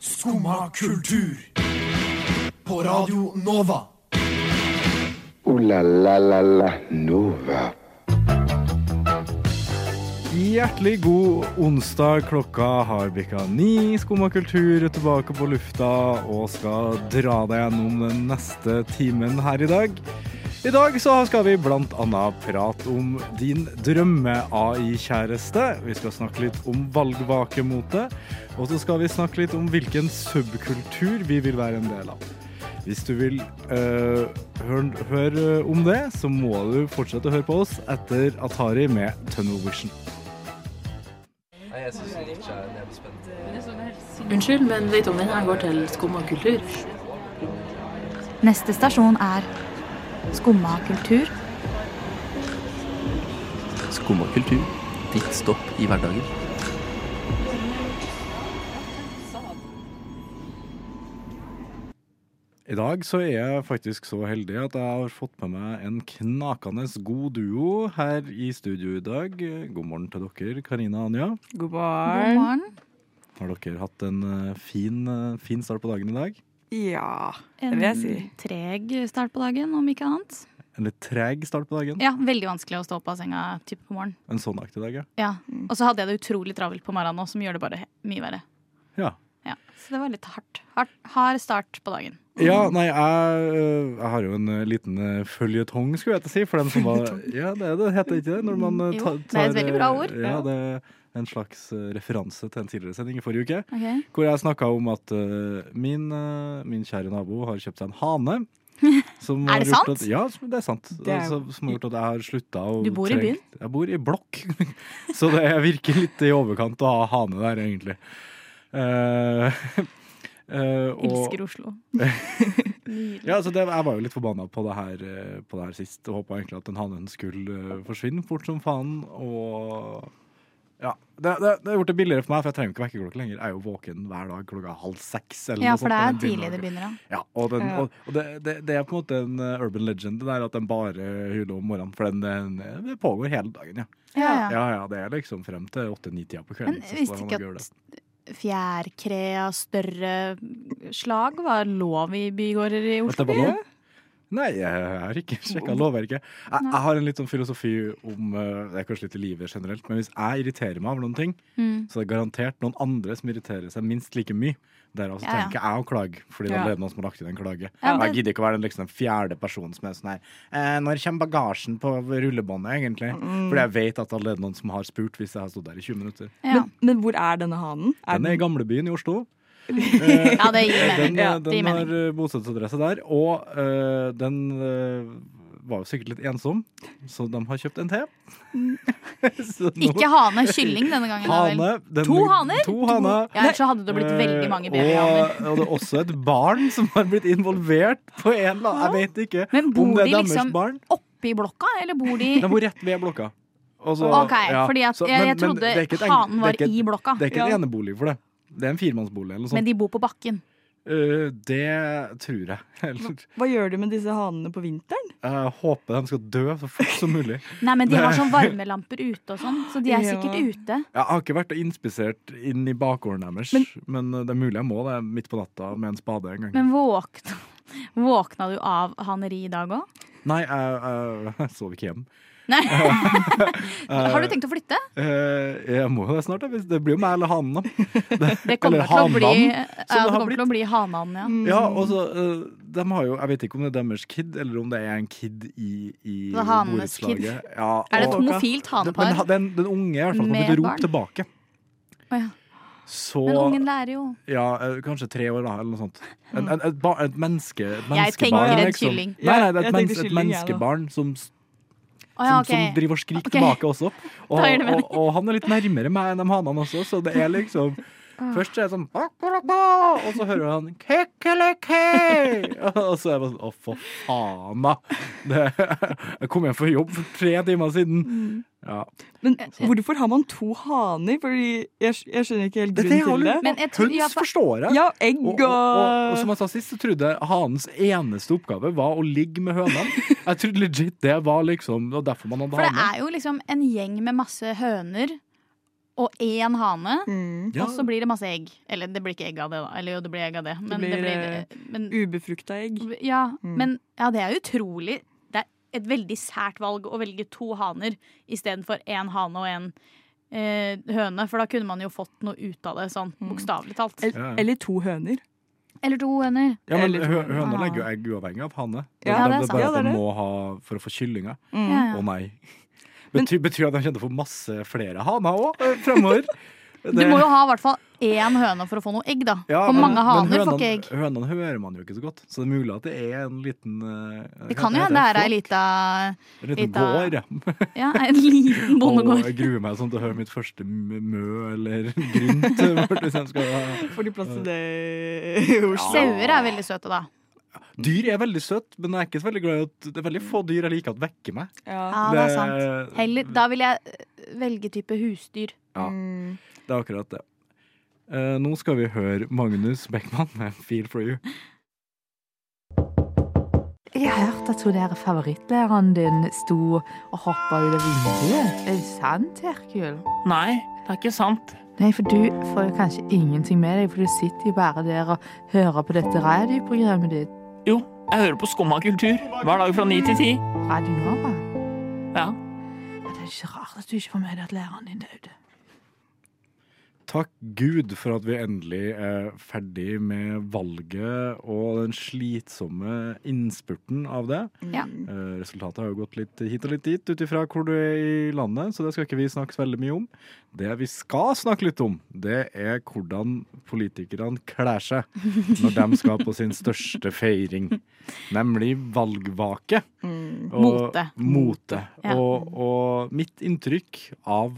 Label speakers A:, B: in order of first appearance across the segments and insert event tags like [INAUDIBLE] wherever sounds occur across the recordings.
A: Skumma kultur. På Radio Nova.
B: Ooh la la la la Nova.
C: Hjertelig god onsdag. Klokka har bikka ni. Skumma kultur er tilbake på lufta og skal dra deg gjennom den neste timen her i dag. I dag så skal vi bl.a. prate om din drømme-AI-kjæreste. Vi skal snakke litt om valgvakemote. Og så skal vi snakke litt om hvilken subkultur vi vil være en del av. Hvis du vil øh, høre, høre om det, så må du fortsette å høre på oss etter Atari med Tunnel Vision.
D: Nei, jeg syns ikke er kjempespennende.
E: Unnskyld, men vet du om den her går til skum og kultur?
F: Neste stasjon er Skumma kultur.
G: Skum og kultur. Ditt stopp i hverdagen.
C: I dag så er jeg faktisk så heldig at jeg har fått med meg en knakende god duo her i studio i dag. God morgen til dere, Karina og Anja.
H: God
F: God
H: morgen.
F: morgen.
C: Har dere hatt en eh, fin, eh, fin start på dagen i dag?
H: Ja.
F: En
H: vil jeg si.
F: Mm. treg start på dagen, om ikke annet.
C: En litt treg start på dagen?
F: Ja, Veldig vanskelig å stå opp av senga typ på morgenen.
C: En sånn aktig dag, ja.
F: Ja. Og så hadde jeg det utrolig travelt på morgenen også, som gjør det bare he- mye verre.
C: ja.
F: Ja. Så det var litt hardt. Hard, hard start på dagen.
C: Ja, nei, jeg, øh, jeg har jo en øh, liten øh, føljetong, skulle jeg til å si. For dem som var Ja, det, er det heter ikke det når man øh,
F: Jo,
C: ta-
F: det er
C: tar
F: et veldig bra
C: øh,
F: ord.
C: Ja,
F: Ja.
C: det er en slags øh, referanse til en tidligere sending i forrige uke.
F: Ok.
C: Hvor jeg snakka om at øh, min, øh, min kjære nabo har kjøpt seg en hane.
F: [LAUGHS]
C: som
F: Er
C: har
F: det
C: gjort
F: sant?
C: At, ja, som- det er sant.
H: Det er-
C: Altså, som har gjort at jeg har slutta å
F: Du bor i
C: trengt-
F: byen?
C: Jeg bor i blokk. [LAUGHS] Så det virker litt i overkant å ha hane der, egentlig. Eh, [LAUGHS] eh, og-
F: Elsker Oslo.
C: ja, altså det, Jeg var jo litt forbanna på det her, eh, på det her sist. og Håpa egentlig at den hannen skulle eh, forsvinne fort som faen. Og ja, det, det, det har gjort det billigere for meg, for jeg trenger jo ikke vekkerklokke lenger. Jeg er jo våken hver dag klokka halv seks. Eller
F: Ja,
C: noe
F: for
C: sånt,
F: det er
C: og den
F: tidlig det
C: begynner å-
F: begynner, da.
C: Ja, og, den,
H: Ja.
C: og, og det, det, det er på en måte en eh, urban legend det der at den bare hyler om morgenen. For den, den det pågår hele dagen, ja.
F: Ja, ja.
C: Ja, ja, Det er liksom frem til åtte-ni-tida på kvelden.
F: Men
C: så står
F: visste
C: han og
F: ikke
C: gjør det.
F: at fjærkre av større slag var lov i bygårder i
C: At
F: Oslo?
C: det var lov? Nei, jeg har ikke sjekka lovverket. Jeg, jeg har en litt sånn filosofi om eh, Det er kanskje litt i livet generelt, men hvis jeg irriterer meg over noen ting,
F: Mm.
C: så er det garantert noen andre som irriterer seg minst like mye. Derav så
F: Ja, ja.
C: tenker jeg å klage, fordi det er
H: Ja.
C: allerede noen som har lagt inn en klage.
F: Ja,
C: Jeg
F: men-
C: gidder ikke å være den, liksom, den fjerde personen som er sånn her eh, Når kommer bagasjen på rullebåndet, egentlig?
F: Mm.
C: Fordi jeg vet at det er allerede noen som har spurt hvis jeg har stått der i 20 minutter.
F: Ja.
H: Men, men hvor er denne hanen? Er
C: Den er i gamlebyen i Oslo.
F: ja, det gir
C: Eh, Den,
F: mening.
H: Ja,
F: det gir
C: den har
F: mening.
C: eh, bostedsadresse der, og eh, den eh, var jo sikkert litt ensom, så de har kjøpt en te. [LAUGHS] Så nå-
F: Mm. [LAUGHS] Ikke hane, kylling denne gangen. da vel?
C: hane. den-
F: To haner?
C: To haner.
F: Ja, ellers så hadde det blitt veldig mange babyhaner.
C: og, og det er også et barn som har blitt involvert på en eller annen Jeg vet ikke
F: Men bor
C: om det er
F: de
C: deres
F: liksom-
C: barn. sånn-
F: Oppi blokka, eller bor
C: [LAUGHS]
F: de
C: De bor rett ved blokka. Og så-
F: Ok,
C: ja,
F: fordi at
C: så-
F: jeg,
C: men-
F: jeg
C: men
F: trodde
C: det er ikke et eng-
F: hanen var
C: det er ikke et-
F: i blokka,
C: Det er ikke
H: Ja.
C: en enebolig for det. Det er en firemannsbolig eller noe sånt.
F: men de bor på bakken.
C: Eh, det tror jeg. [LAUGHS] Eller,
H: den- Hva gjør du med disse hanene på vinteren?
C: Jeg håper de skal dø så fort som mulig.
F: Nei, men de har sånn varmelamper ute og sånn, så de er
H: Ja.
F: sikkert ute.
C: Jeg har ikke vært og inspisert inn i bakgården deres, men, det er mulig jeg må det midt på natta med en spade en gang.
F: Men våkna, [LAUGHS] våkna du av haneri i dag òg?
C: Nei, jeg, jeg, jeg sov ikke hjem.
F: Nei. [LAUGHS] Har du tenkt å flytte?
C: Eh, jeg må jo det snart, da, hvis det blir jo meg eller hanen. da.
F: [LAUGHS] Det kommer
C: [LAUGHS] eller
F: til å bli,
C: hanan, som det
F: ja, det
C: har Mm.
F: kommer til å bli hanan, ja.
C: Ja, og så eh, de har jo, Jeg vet ikke om det er deres kid, eller om det er en kid i, i
F: Det er hanenes kid.
C: borettslaget. Ja,
F: Er det et
C: og-
F: homofilt
C: Men
F: hanepar?
C: den, den unge i hvert fall kommer
F: Med
C: til å
F: barn?
C: rope tilbake.
F: Å ja.
C: Så
F: Men ungen lærer jo.
C: Ja, eh, kanskje tre år, da, eller noe sånt. En, en, et, ba, et menneske, et
F: Jeg
C: menneskebarn.
F: tenker en
C: liksom.
F: kylling.
C: Nei, nei, det er
H: Jeg
C: et, mens,
H: tenkte
C: et
H: kylling, jeg, da.
C: menneskebarn som, s-
F: Å Ah, ja,
C: som,
F: ok.
C: som driver og skriker
F: Ok.
C: tilbake også. Og,
F: [LAUGHS] Da gir det
C: og,
F: mening.
C: og han er litt nærmere meg enn de hanene også, så det er liksom
F: Ah.
C: Først så er det sånn «Bakalaba», Og så hører han «Kekeleke», [LAUGHS] Og så er jeg bare sånn Å, for faen, da. Det, jeg kom hjem fra jobb for tre timer siden.
F: Mm.
C: Ja.
H: Men
F: Eh,
H: hvorfor har man to haner? Fordi jeg, sk- jeg skjønner ikke helt
C: Dette er jo
H: grunnen til det.
F: Men jeg tror- ja,
C: Høns
F: for-
C: forstår jeg.
H: Ja, egg
C: Og,
H: og,
C: og, og, og som jeg sa sist, så trodde jeg hanens eneste oppgave var å ligge med hønene. Jeg trodde legit det var liksom Det var derfor man hadde
F: For det
C: hane.
F: er jo liksom en gjeng med masse høner og én hane.
H: Mm.
C: Ja.
F: Og så blir det masse egg. Eller det blir ikke egg av det, da. Eller jo, det blir egg av det. Men det
H: blir,
F: blir, eh, men,
H: Ubefrukta egg.
F: ja,
H: Mm.
F: men ja, det er utrolig. Det er et veldig sært valg å velge to haner istedenfor én hane og én eh, høne. For da kunne man jo fått noe ut av det, sånn
H: Mm.
F: bokstavelig talt.
H: El-
C: Ja, ja.
H: Eller to høner.
F: Eller to høner.
C: Ja, men
H: Eller-
C: hø høna legger jo egg uavhengig av hane. Det,
F: sånn, det
H: Ja,
F: er
C: det, er bare
H: sant. Ja,
C: at
H: det er
C: de
H: det.
C: må ha for å få kyllinger.
H: Mm.
C: Å
F: Ja, ja.
C: nei.
H: Men-
C: Betyr, betyr at de kjenner for masse flere haner òg
F: [LAUGHS]
C: fremover?
F: Du må jo ha i hvert fall én høne for å få noe egg, da.
C: Ja,
F: For
C: men-
F: mange
C: men
F: haner får
C: hønene-
F: ikke egg.
C: Hønene hører man jo ikke så godt, så det er mulig at det er en liten eh,
F: Det kan jo
C: hva
F: hende det er ei
C: heter
F: lita
C: det? En liten
F: lita-
C: gård. ja.
F: Ja, [LAUGHS] en liten
C: Og
F: bondegård.
C: jeg gruer meg sånn til å høre mitt første m- mø eller [LAUGHS] grynt. hvis jeg sånn skal ha-
H: Får de plass til det i Oslo?
F: Sauer er veldig søte, da.
C: Dyr er veldig søt, men jeg er ikke så veldig glad i at det er veldig få dyr jeg liker at vekker meg.
H: Ja.
F: Ja, det er sant. Heller, da vil jeg øh, velge type husdyr.
C: Ja.
H: Mm.
C: Det er akkurat det. Eh, nå skal vi høre Magnus Beckmann med 'Feel for you'.
I: Jeg har hørt at hun der favorittlæreren din sto og hoppa ut av vinduet. Er det sant, Herkul?
J: Nei, det er ikke sant.
I: Nei, for du får jo kanskje ingenting med deg, for du sitter jo bare der og hører på dette radioprogrammet ditt.
J: Jo, jeg hører på Skumma kultur hver dag fra ni til ti.
I: Radio Nova.
J: Ja.
I: Ja, Det er ikke rart at du ikke får med deg at læreren din døde.
C: Takk Gud for at vi endelig er ferdig med valget og den slitsomme innspurten av det.
F: Ja.
C: Eh, Resultatet har jo gått litt hit og litt dit ut ifra hvor du er i landet, så det skal ikke vi snakke så veldig mye om. Det vi skal snakke litt om, det er hvordan politikerne kler seg når de skal på sin største feiring, nemlig valgvake. og-
F: Mm. Mote.
C: Mote.
F: Ja.
C: Og, og mitt inntrykk av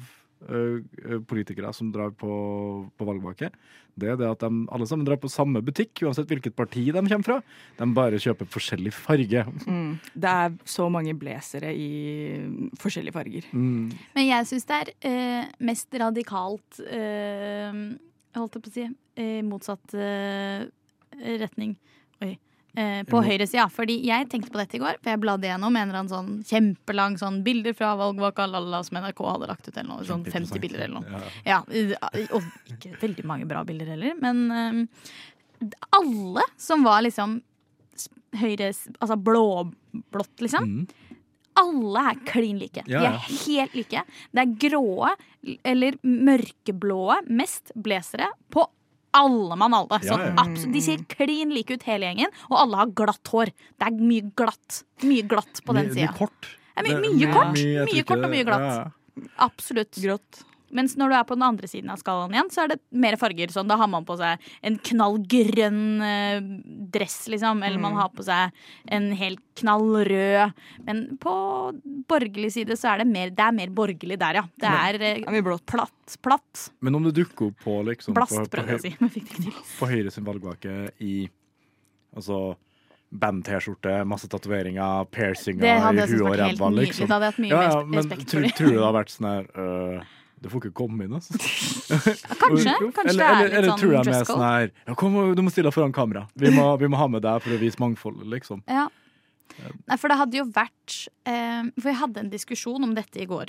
C: ø, ø, politikere som drar på, på valgvake, det er det at de alle sammen drar på samme butikk, uansett hvilket parti de kommer fra. De bare kjøper forskjellig
F: [LAUGHS]
C: farge.
H: Mm. Det er så mange blazere i forskjellige farger.
C: Mm.
F: Men jeg syns det er øh, mest radikalt øh, Holdt jeg på å si øh, motsatt øh, retning. Oi. Eh, på
C: Jo.
F: høyresida. Fordi jeg tenkte på dette i går, for jeg bladde gjennom en eller annen sånn kjempelang sånn bilder fra valgvaka lalala, som NRK hadde lagt ut, eller noe. Sånn 50 bilder eller noe.
C: Ja.
F: Ja, eh, og ikke veldig mange bra bilder heller, men eh, alle som var liksom s- høyres, altså blåblått, liksom.
C: Mm.
F: Alle er klin like.
C: Ja,
F: De
C: ja.
F: er helt like. Det er gråe eller mørkeblåe, mest blazere, på alle mann alle.
C: Ja,
F: Sånn,
C: ja.
F: absolutt, de ser klin like ut hele gjengen, og alle har glatt hår. Det er mye glatt. Mye glatt på den
C: Mye- Mye
F: sida.
C: kort.
F: Ja, my-
C: Det-
F: mye kort.
C: jeg
F: Mye
C: tror ikke
F: kort og mye
C: det-
F: glatt.
C: ja, ja.
F: Absolutt.
H: Grått.
F: Mens når du er på den andre siden av skalaen igjen, så er det mer farger. Sånn, da har man på seg en knallgrønn eh, dress, liksom. Eller
C: Mm.
F: man har på seg en helt knallrød. Men på borgerlig side så er det mer, det er mer borgerlig der, ja. Det er eh,
H: Det er mye blått.
F: platt, platt.
C: Men om det dukker opp på liksom
F: Blast,
C: på, på,
F: prøvde jeg å si. [LAUGHS] Men fikk det ikke til.
C: høy- på Høyre sin valgvake i altså band-T-skjorte, masse tatoveringer, piercinger
F: Det hadde
C: i
F: jeg syntes
C: huet og
F: vært helt
C: ræva,
F: nydelig.
C: liksom.
F: Da hadde jeg hatt mye
C: Ja,
F: mer
C: ja, men
F: respekt for
C: tror,
F: det.
C: tror du
F: [LAUGHS]
C: det har vært sånn her øh, Du får ikke komme inn, altså.
F: Kanskje. Kanskje
C: eller,
F: det er
C: eller,
F: litt
C: eller tror jeg
F: sånn
C: med
F: dress
C: sånn
F: code.
C: her ja, kom, Du må stille deg foran kamera. Vi må, vi må ha med deg for å vise mangfold, liksom.
F: Ja. Nei, for det hadde jo vært eh, For jeg hadde en diskusjon om dette i går.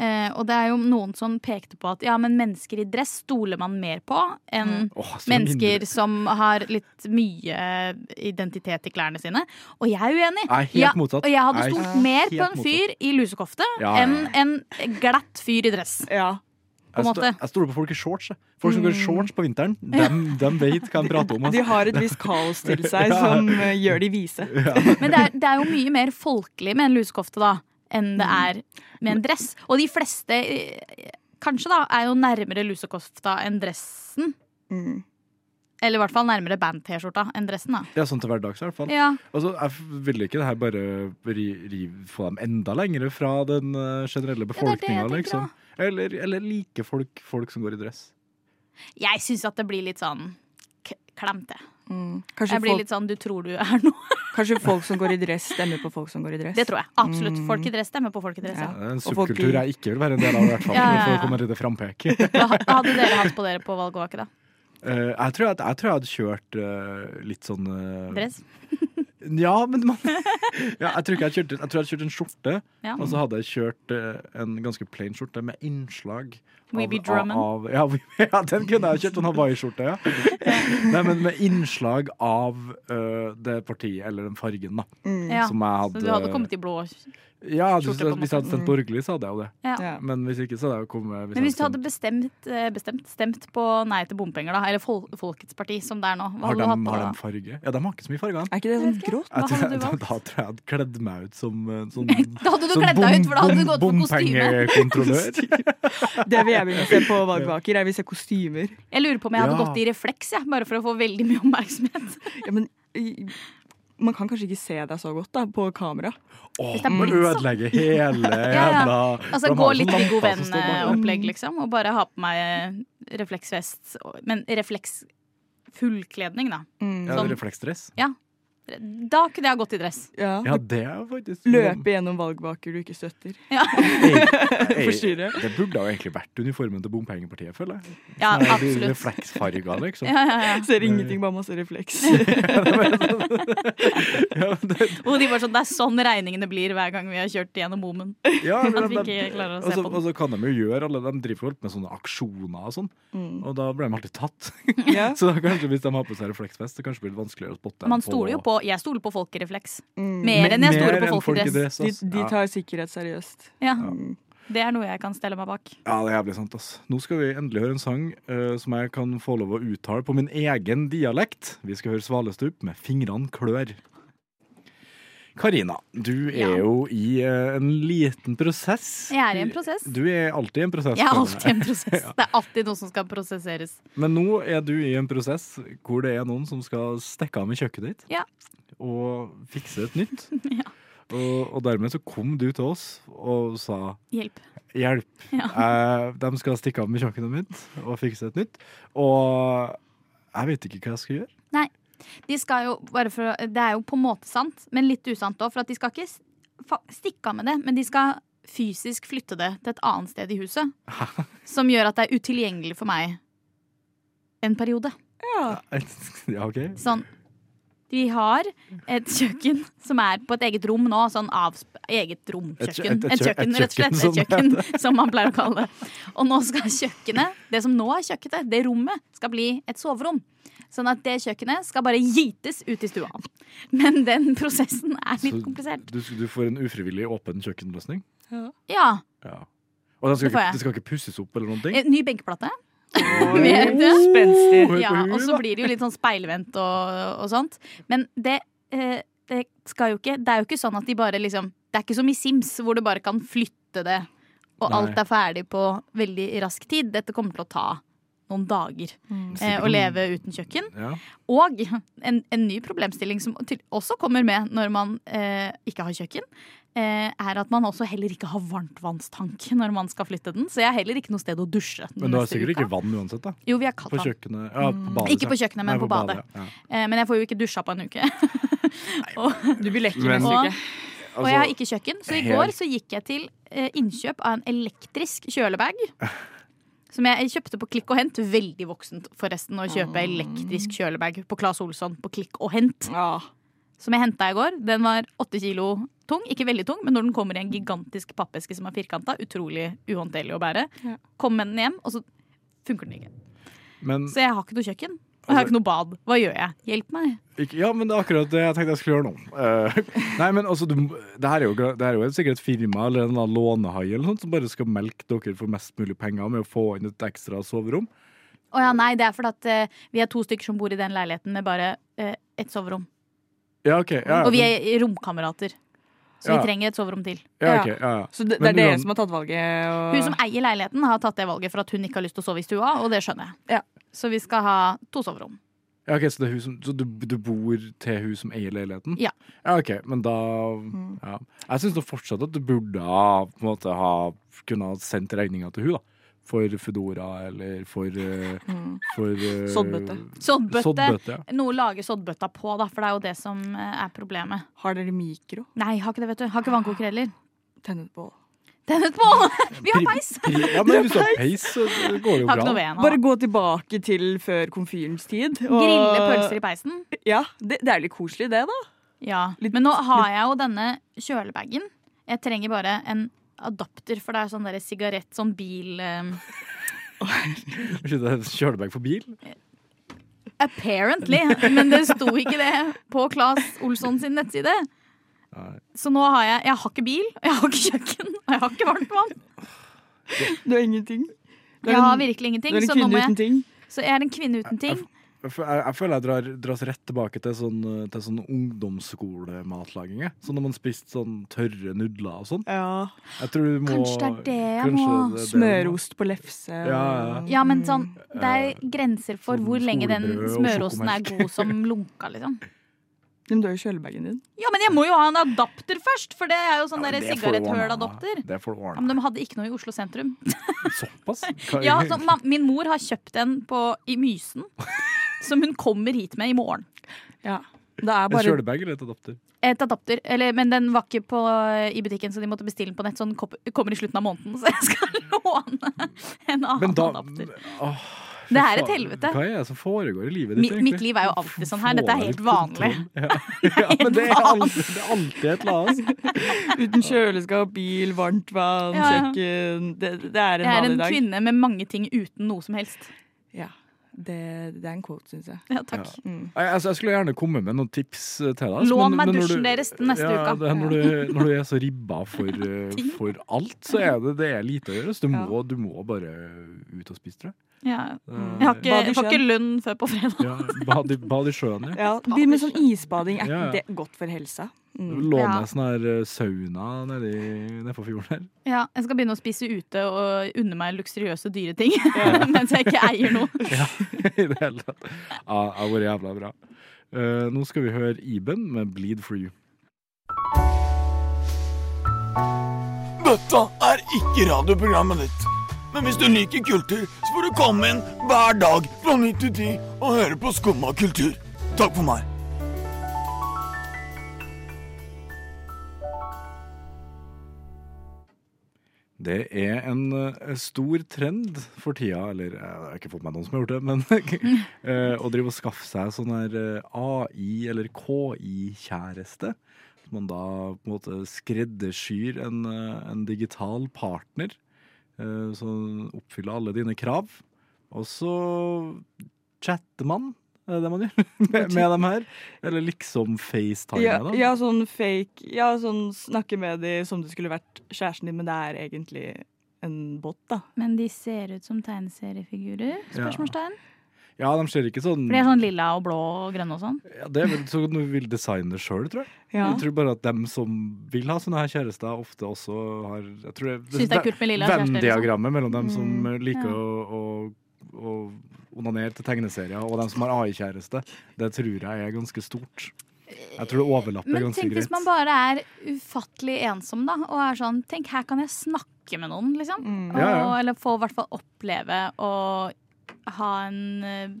F: Eh, og det er jo noen som pekte på at ja, men mennesker i dress stoler man mer på enn
C: Åh, så
F: Mennesker
C: Mm. mindre-
F: som har litt mye identitet i klærne sine. Og jeg er uenig.
C: Nei, helt
F: Ja,
C: motsatt.
F: Og jeg hadde
C: Nei,
F: stolt
C: helt
F: mer på en
C: motsatt.
F: fyr i lusekofte
C: Ja, ja,
F: enn en glatt fyr i dress.
H: Ja.
F: på
C: Jeg
F: en
C: sto-
F: måte. Mm.
C: Jeg stoler på folk i shorts. jeg. Folk som går i shorts på
F: [LAUGHS]
C: vinteren, dem, dem vet hva de prater om. altså. ass.
H: De har et visst kaos
C: [LAUGHS]
H: til seg som eh, gjør de vise.
F: Men det er, det er jo mye mer folkelig med en lusekofte da enn det
H: Mm.
F: er med en dress. Og de fleste eh, kanskje da er jo nærmere lusekofta enn dressen.
H: Mm.
F: Eller i hvert fall nærmere band-T-skjorta enn dressen. da
C: Ja, sånn til hverdags i hvert fall.
F: Ja,
C: Altså, jeg f- ville ikke det her bare ri, ri, få dem enda lenger fra den eh, generelle
F: det er det jeg
C: befolkninga,
F: tenker
C: liksom. Eller, eller like folk, folk som går i dress.
F: Jeg syns at det blir litt sånn k- klemt, jeg.
H: Mm. Kanskje,
F: Jeg blir
H: folk,
F: litt sånn du tror du er noe.
H: kanskje folk som går i dress, stemmer på folk som går i dress.
F: Det tror jeg. Absolutt.
H: Mm.
F: Folk i dress stemmer på folk i dress.
H: Ja.
F: Ja.
C: Det er en
H: Og folk
C: subkultur
H: i-
C: jeg ikke vil være en del av, i hvert fall.
F: Ja, ja,
C: For
F: ja.
C: å komme til det frampek. [LAUGHS]
F: Hva hva hadde dere hatt på dere på valgvake, da?
C: Eh, jeg, tror jeg, jeg tror jeg hadde kjørt eh, litt sånn eh,
F: Dress?
C: Ja, men man [LAUGHS] ja, Jeg tror ikke jeg kjørte Jeg tror jeg kjørte en skjorte,
F: Ja.
C: og så hadde jeg kjørt eh, en ganske plain skjorte med innslag.
F: Weeby Drummond.
C: Av, ja, we- [LAUGHS] ja, den kunne jeg kjørt. En hawaiiskjorte, ja.
F: [LAUGHS]
C: Nei, men med innslag av eh, det partiet, eller den fargen, da.
F: Ja.
C: Som jeg
F: Så
C: hadde
F: du hadde kommet i blå
C: Ja, hvis,
F: skjorte, på en
C: hvis jeg hadde
F: måte.
C: stemt borgerlig, så hadde jeg jo det.
F: Ja.
C: Men hvis ikke, så hadde jeg jo kommet
F: Men hvis du
C: jeg
F: hadde bestemt, eh, bestemt stemt på nei til bompenger, da, eller Fol Folkets parti, som det er nå, hva
C: har
F: hadde
C: de,
F: du hatt
C: har
F: da?
C: de farge? Ja, de har ikke så mye farge.
H: Er ikke det sånn grått?
F: Hva
C: Jeg tror-
F: hadde du
C: da,
F: valgt?
C: da tror jeg jeg hadde kledd meg ut som eh, sånn,
F: Da hadde du
C: sånn
F: kledd deg ut, for da hadde du gått for kostyme.
C: bompengekontrollør.
H: Det vil jeg begynne å se på valgvaker. Jeg vil se kostymer.
F: Jeg lurer på om jeg hadde
C: Ja.
F: gått i refleks, jeg, bare for å få veldig mye
C: [LAUGHS]
F: oppmerksomhet.
H: Ja, men i- man kan kanskje ikke se deg så godt da, på kamera.
C: Åh,
F: det er
C: men
F: blitz,
C: ødelegge hele
F: [LAUGHS] ja.
C: jævla
F: Altså
C: de
F: gå
C: har sånn
F: litt Viggo
C: lamper som står bak der.
F: Venn-opplegg, liksom, og bare ha på meg eh, refleksvest, og- men refleks fullkledning, da.
H: Mm.
C: Ja,
F: Sånn.
C: refleksdress.
F: Da kunne jeg gått i dress.
H: Ja.
C: Ja, det er jo faktisk
H: Løpe gjennom valgvaker du ikke støtter.
C: Ei,
H: forstyrre.
C: Det burde jo egentlig vært uniformen til bompengepartiet, føler jeg.
F: Ja,
C: Nei, de
F: absolutt.
C: Refleksfarga, liksom.
F: [LAUGHS] Ja, ja, ja.
H: Ser ingenting, bare masse
F: [LAUGHS]
H: refleks.
C: Ja, men det,
F: Og de var sånn, det er sånn regningene blir hver gang vi har kjørt gjennom bommen.
C: ja, men
F: At vi
C: de-
F: ikke klarer å
C: og
F: se
C: så-
F: på den.
C: Og så kan de jo gjøre alle De driver jo alt med sånne aksjoner og sånn,
H: Mm.
C: og da blir de alltid tatt. [LAUGHS]
H: Ja.
C: Så da kanskje hvis de har på seg refleksvest, så kanskje blir det vanskeligere å spotte dem
F: Man stoler jo på, Jeg stoler på folk i refleks.
H: Mm.
F: Mer enn jeg
C: Mer
F: stoler
C: enn
F: på folk i dress.
H: De,
C: ass.
H: de tar sikkerhet seriøst.
F: Ja,
H: Mm.
F: det er noe jeg kan stelle meg bak.
C: Ja, det er jævlig sant, ass. Nå skal vi endelig høre en sang eh, som jeg kan få lov å uttale på min egen dialekt. Vi skal høre Svalestup med 'Fingrene klør'. Karina, du er
F: Ja.
C: jo i eh, en liten prosess.
F: Jeg er i en prosess.
C: Du er alltid i en prosess.
F: Jeg er
C: Karina.
F: alltid i
C: [LAUGHS]
F: en prosess. Det er alltid noe som skal prosesseres.
C: Men nå er du i en prosess hvor det er noen som skal stikke av med kjøkkenet ditt
F: Ja.
C: og fikse et
F: [LAUGHS]
C: nytt. og, og dermed så kom du til oss og sa
F: Hjelp.
C: Hjelp. [LAUGHS] Eh, de skal stikke av med kjøkkenet mitt og fikse et nytt. Og jeg vet ikke hva jeg skal gjøre. [LAUGHS]
F: De skal jo, bare for, å- det er jo på en måte sant, men litt usant òg, for at de skal ikke s- fa- stikke av med det, men de skal fysisk flytte det til et annet sted i huset.
C: [LAUGHS]
F: Som gjør at det er utilgjengelig for meg en periode.
C: Ja, ok.
F: Sånn Vi har et kjøkken som er på et eget rom nå. Sånn avs eget romkjøkken.
C: Et kjø- et- et
F: Et
C: kjø-
F: kjøkken,
C: et
F: rett og slett.
C: kjøkken,
F: Et kjøkken, [LAUGHS] som man pleier å kalle det. Og nå skal kjøkkenet, det som nå er kjøkkenet, det rommet, skal bli et soverom. Sånn at det kjøkkenet skal bare gites ut i stua. Men den prosessen er litt
C: Så
F: komplisert.
C: Du, du får en ufrivillig åpen kjøkkenløsning.
F: Ja.
C: Ja. Og den skal,
F: Det får
C: ikke,
F: jeg.
C: den skal ikke pusses opp eller noen ting.
F: eh, Ny benkeplate. Med-
H: Spenstig.
C: Hør på
F: [LAUGHS] Ja,
C: hun,
F: og så
C: da.
F: blir det jo litt sånn speilvendt og, og sånt. Men det, eh, det skal jo ikke Det er jo ikke sånn at de bare liksom Det er ikke som i Sims, hvor du bare kan flytte det, og
C: Nei.
F: alt er ferdig på veldig rask tid. Dette kommer til å ta noen dager eh, å leve uten kjøkken.
C: Ja.
F: Og en, en ny problemstilling som til, også kommer med når man eh, ikke har kjøkken, eh, er at man også heller ikke har varmtvannstank når man skal flytte den. Så jeg har heller ikke noe sted å dusje. den
C: Men du har
F: neste
C: sikkert
F: uka.
C: ikke vann uansett, da.
F: Jo, vi har kaldt
C: På
F: vann. Mm.
C: kjøkkenet. Ja, på badet.
F: Ikke på kjøkkenet, men
C: Nei,
F: på badet.
C: Ja.
F: Eh, Men jeg får jo ikke dusja på en uke. [LAUGHS]
H: Du blir lekker Altså,
C: Men-
H: neste uke.
F: og jeg har
C: Altså,
F: ikke kjøkken, så i
C: helt-
F: går så gikk jeg til eh, innkjøp av en elektrisk kjølebag.
H: [LAUGHS]
F: Som jeg kjøpte på Klikk og Hent. Veldig voksent forresten å kjøpe
H: Mm.
F: elektrisk kjølebag på Claes Olsson på Klikk og Hent.
H: Ja.
F: Som jeg henta i går. Den var åtte kilo tung. Ikke veldig tung, men når den kommer i en gigantisk pappeske som er firkanta, utrolig uhåndterlig å bære.
H: Ja.
F: Kom med den hjem, og så funker den ikke.
C: Men,
F: Så jeg har ikke noe kjøkken. Og
H: Altså-
F: jeg har ikke noe bad. Hva gjør jeg? Hjelp meg.
C: ikke, ja, men det er akkurat det jeg tenkte jeg skulle gjøre nå. Eh, [LAUGHS] nei, men altså, du, må- det, her er jo, gra- det her er jo sikkert et firma eller en eller annen lånehai eller noe sånt, som bare skal melke dere for mest mulig penger med å få inn et ekstra soverom.
F: Å ja, nei, det er fordi at eh, vi er to stykker som bor i den leiligheten med bare eh, ett soverom.
C: Ja, ok. Ja, ja,
F: Og vi
C: men-
F: er romkamerater. Så
C: Ja.
F: vi trenger et soverom til.
C: ja, ok, ja, ja.
H: Så det, det
C: Men
H: er dere
C: uan-
H: som har tatt valget? Og...
F: Hun som eier leiligheten, har tatt det valget for at hun ikke har lyst til å sove i stua, og det skjønner jeg.
H: Ja.
F: Så vi skal ha to soverom.
C: Ja, ok, så, det er hun som, så du, du bor til hun som eier leiligheten?
F: Ja. Mm.
C: ja ok, men da ja. Jeg syns fortsatt at du burde ha, på en måte, ha kunnet ha sendt regninga til hun da. For Foodora eller for, eh,
H: Mm.
C: for eh,
H: Soddbøtte.
F: Soddbøtte.
C: Soddbøtte, ja.
F: Noe å lage soddbøtta på, da, for det er jo det som eh, er problemet.
H: Har dere mikro?
F: Nei, har ikke det, vet du. Har ikke
C: Ah.
F: vannkoker heller.
H: Tennet på.
F: Tennet på! [LAUGHS] Vi har
C: Pri-
F: peis!
C: pri- Ja, men hvis du har peis, så går det jo
F: Har ikke
C: bra.
F: noe ved
H: Bare
F: nå.
H: gå tilbake til før komfyrens tid.
F: Grille pølser i peisen.
H: Ja, det, det er litt koselig det, da.
F: Ja, Men nå har jeg jo denne kjølebagen. Jeg trenger bare en adapter, for det er sånn der sigarett, sånn bil
H: [LAUGHS]
F: eh,
C: Skyte kjølebag for bil?
F: Apparently. [LAUGHS] Men det sto ikke det på Claes Olsson sin nettside. Så nå har jeg Jeg har ikke bil, og jeg har ikke kjøkken, og jeg har ikke varmt vann.
H: Du har ingenting. Du er
F: Jeg har
H: en-
F: virkelig
H: du
F: ingenting.
H: er en
F: Så nå
H: kvinne
F: må
H: uten
F: jeg
H: ting.
F: Så jeg er en kvinne uten ting.
C: Jeg, fø- jeg, jeg føler jeg drar, dras rett tilbake til sånn, eh, til sånn ungdomsskolematlaging. jeg. Sånn når man spiste sånn tørre nudler og sånn.
H: Ja.
C: Jeg tror du må
F: Kanskje det er det jeg må
C: kanskje det er det du må.
H: Smørost på lefse.
C: Ja, ja.
F: Ja, men sånn, det er grenser for
C: sånn
F: hvor lenge den
C: skolebrød og
F: smørosten er
C: sjokomelk.
F: god som lunka, liksom.
H: Men du har jo kjølebagen din.
F: Ja, men jeg må jo ha en adapter først, for det er jo sånn
C: Ja, men
F: ja,
C: det får du ordne,
F: sigaretthøl-adapter.
C: Det får du
F: Ja, men
C: ordne.
F: de hadde ikke noe i Oslo sentrum. [LAUGHS]
C: Såpass?
F: Ja, så, ma, Min mor har kjøpt en på, i
C: [LAUGHS]
F: Mysen, som hun kommer hit med i morgen.
H: Ja. Det er
C: En
H: bare
C: kjølebag eller et adapter?
F: Et adapter, eller, men den var ikke på, i butikken, så de måtte bestille den på nett. Så den kop- kommer i slutten av måneden, så jeg skal [LAUGHS] låne en
C: Men
F: annen
C: da
F: Ah, adapter.
C: Åh, fy
F: Det er et
C: faen.
F: helvete.
C: Hva er det som foregår i livet ditt?
F: Mi,
C: egentlig?
F: mitt liv er jo alltid sånn her. Dette er helt
C: Få litt
F: vanlig. [LAUGHS]
C: kontroll. Ja, ja men det er alltid, det er alltid et eller annet.
H: uten kjøleskap, bil, varmt vann,
F: Ja, ja.
H: kjøkken. Det, det er en
F: Jeg er
H: vanlig
F: en
H: dag.
F: kvinne med mange ting uten noe som helst.
H: Ja. Det, det er en quote, syns jeg.
F: Ja, takk.
H: Mm.
C: Jeg, altså, jeg skulle gjerne komme med noen tips eh, til deg. altså,
F: Lån
C: men-
F: meg
C: men når
F: dusjen deres den neste
C: ja,
F: uka.
C: Det, er når, du, når du er så ribba
F: [LAUGHS]
C: for, eh, for alt, så er det, det er lite å gjøre. Så du
H: Ja.
C: må, du må bare ut og spise, tror jeg.
F: Ja.
C: Eh,
F: Jeg har ikke,
H: Bad i
F: jeg får ikke
H: sjøen.
F: lønn før på fredag.
C: ja, bad, i- bad i sjøen, ja.
H: Ja, Begynn med sånn isbading. Er
C: Ja, ja.
H: ikke det godt for helsa? Mm.
C: Låne
F: Ja.
C: sånn her eh, sauna nedi nedfor fjorden her. [LAUGHS]
F: Ja, jeg skal begynne å spise ute og unne meg luksuriøse dyre ting [LAUGHS] mens jeg ikke eier noe.
C: I det hele tatt. Ja, det har vært jævla bra. Eh, nå skal vi høre Iben med Bleed for you.
A: Dette er ikke radioprogrammet ditt. Men hvis du liker kultur, så får du komme inn hver dag fra 9 til 10 og høre på Skumma kultur. Takk for meg.
C: Det er en eh, stor trend for tida, eller eh, jeg har ikke fått med noen som har gjort det, men [LAUGHS] eh, å drive og skaffe seg sånn her eh, AI- eller KI-kjæreste. At man da på en måte skreddersyr en, eh, en digital partner eh, som oppfyller alle dine krav. Og så chatter man, er det det man gjør, [LAUGHS] med, med dem her. Eller liksom FaceTime
H: Ja,
C: dem.
H: ja, sånn fake Ja, sånn snakke med de som det skulle vært kjæresten din, men det er egentlig en bot, da.
F: Men de ser ut som tegneseriefigurer? Spørsmålstegn.
C: Ja, de ser ikke sånn
F: For de er sånn lilla og blå og grønne og sånn.
C: ja, Det er vel sånn du vil designe sjøl, tror jeg.
H: Ja.
C: Jeg tror bare at dem som vil ha sånne her kjærester, ofte også har jeg tror
F: Syns det er kult med lilla kjærester, liksom.
C: Venn-diagrammet mellom dem som
F: Mm,
C: liker
F: ja.
C: å, å, å onanere til tegneserier, og dem som har AI-kjæreste. Det tror jeg er ganske stort. Jeg tror det overlapper
F: Men
C: ganske
F: tenk hvis
C: greit.
F: man bare er ufattelig ensom, da, og er sånn Tenk, her kan jeg snakke med noen, liksom.
H: Mm.
F: Og,
C: Ja, ja.
F: eller få i hvert fall oppleve å ha en eh,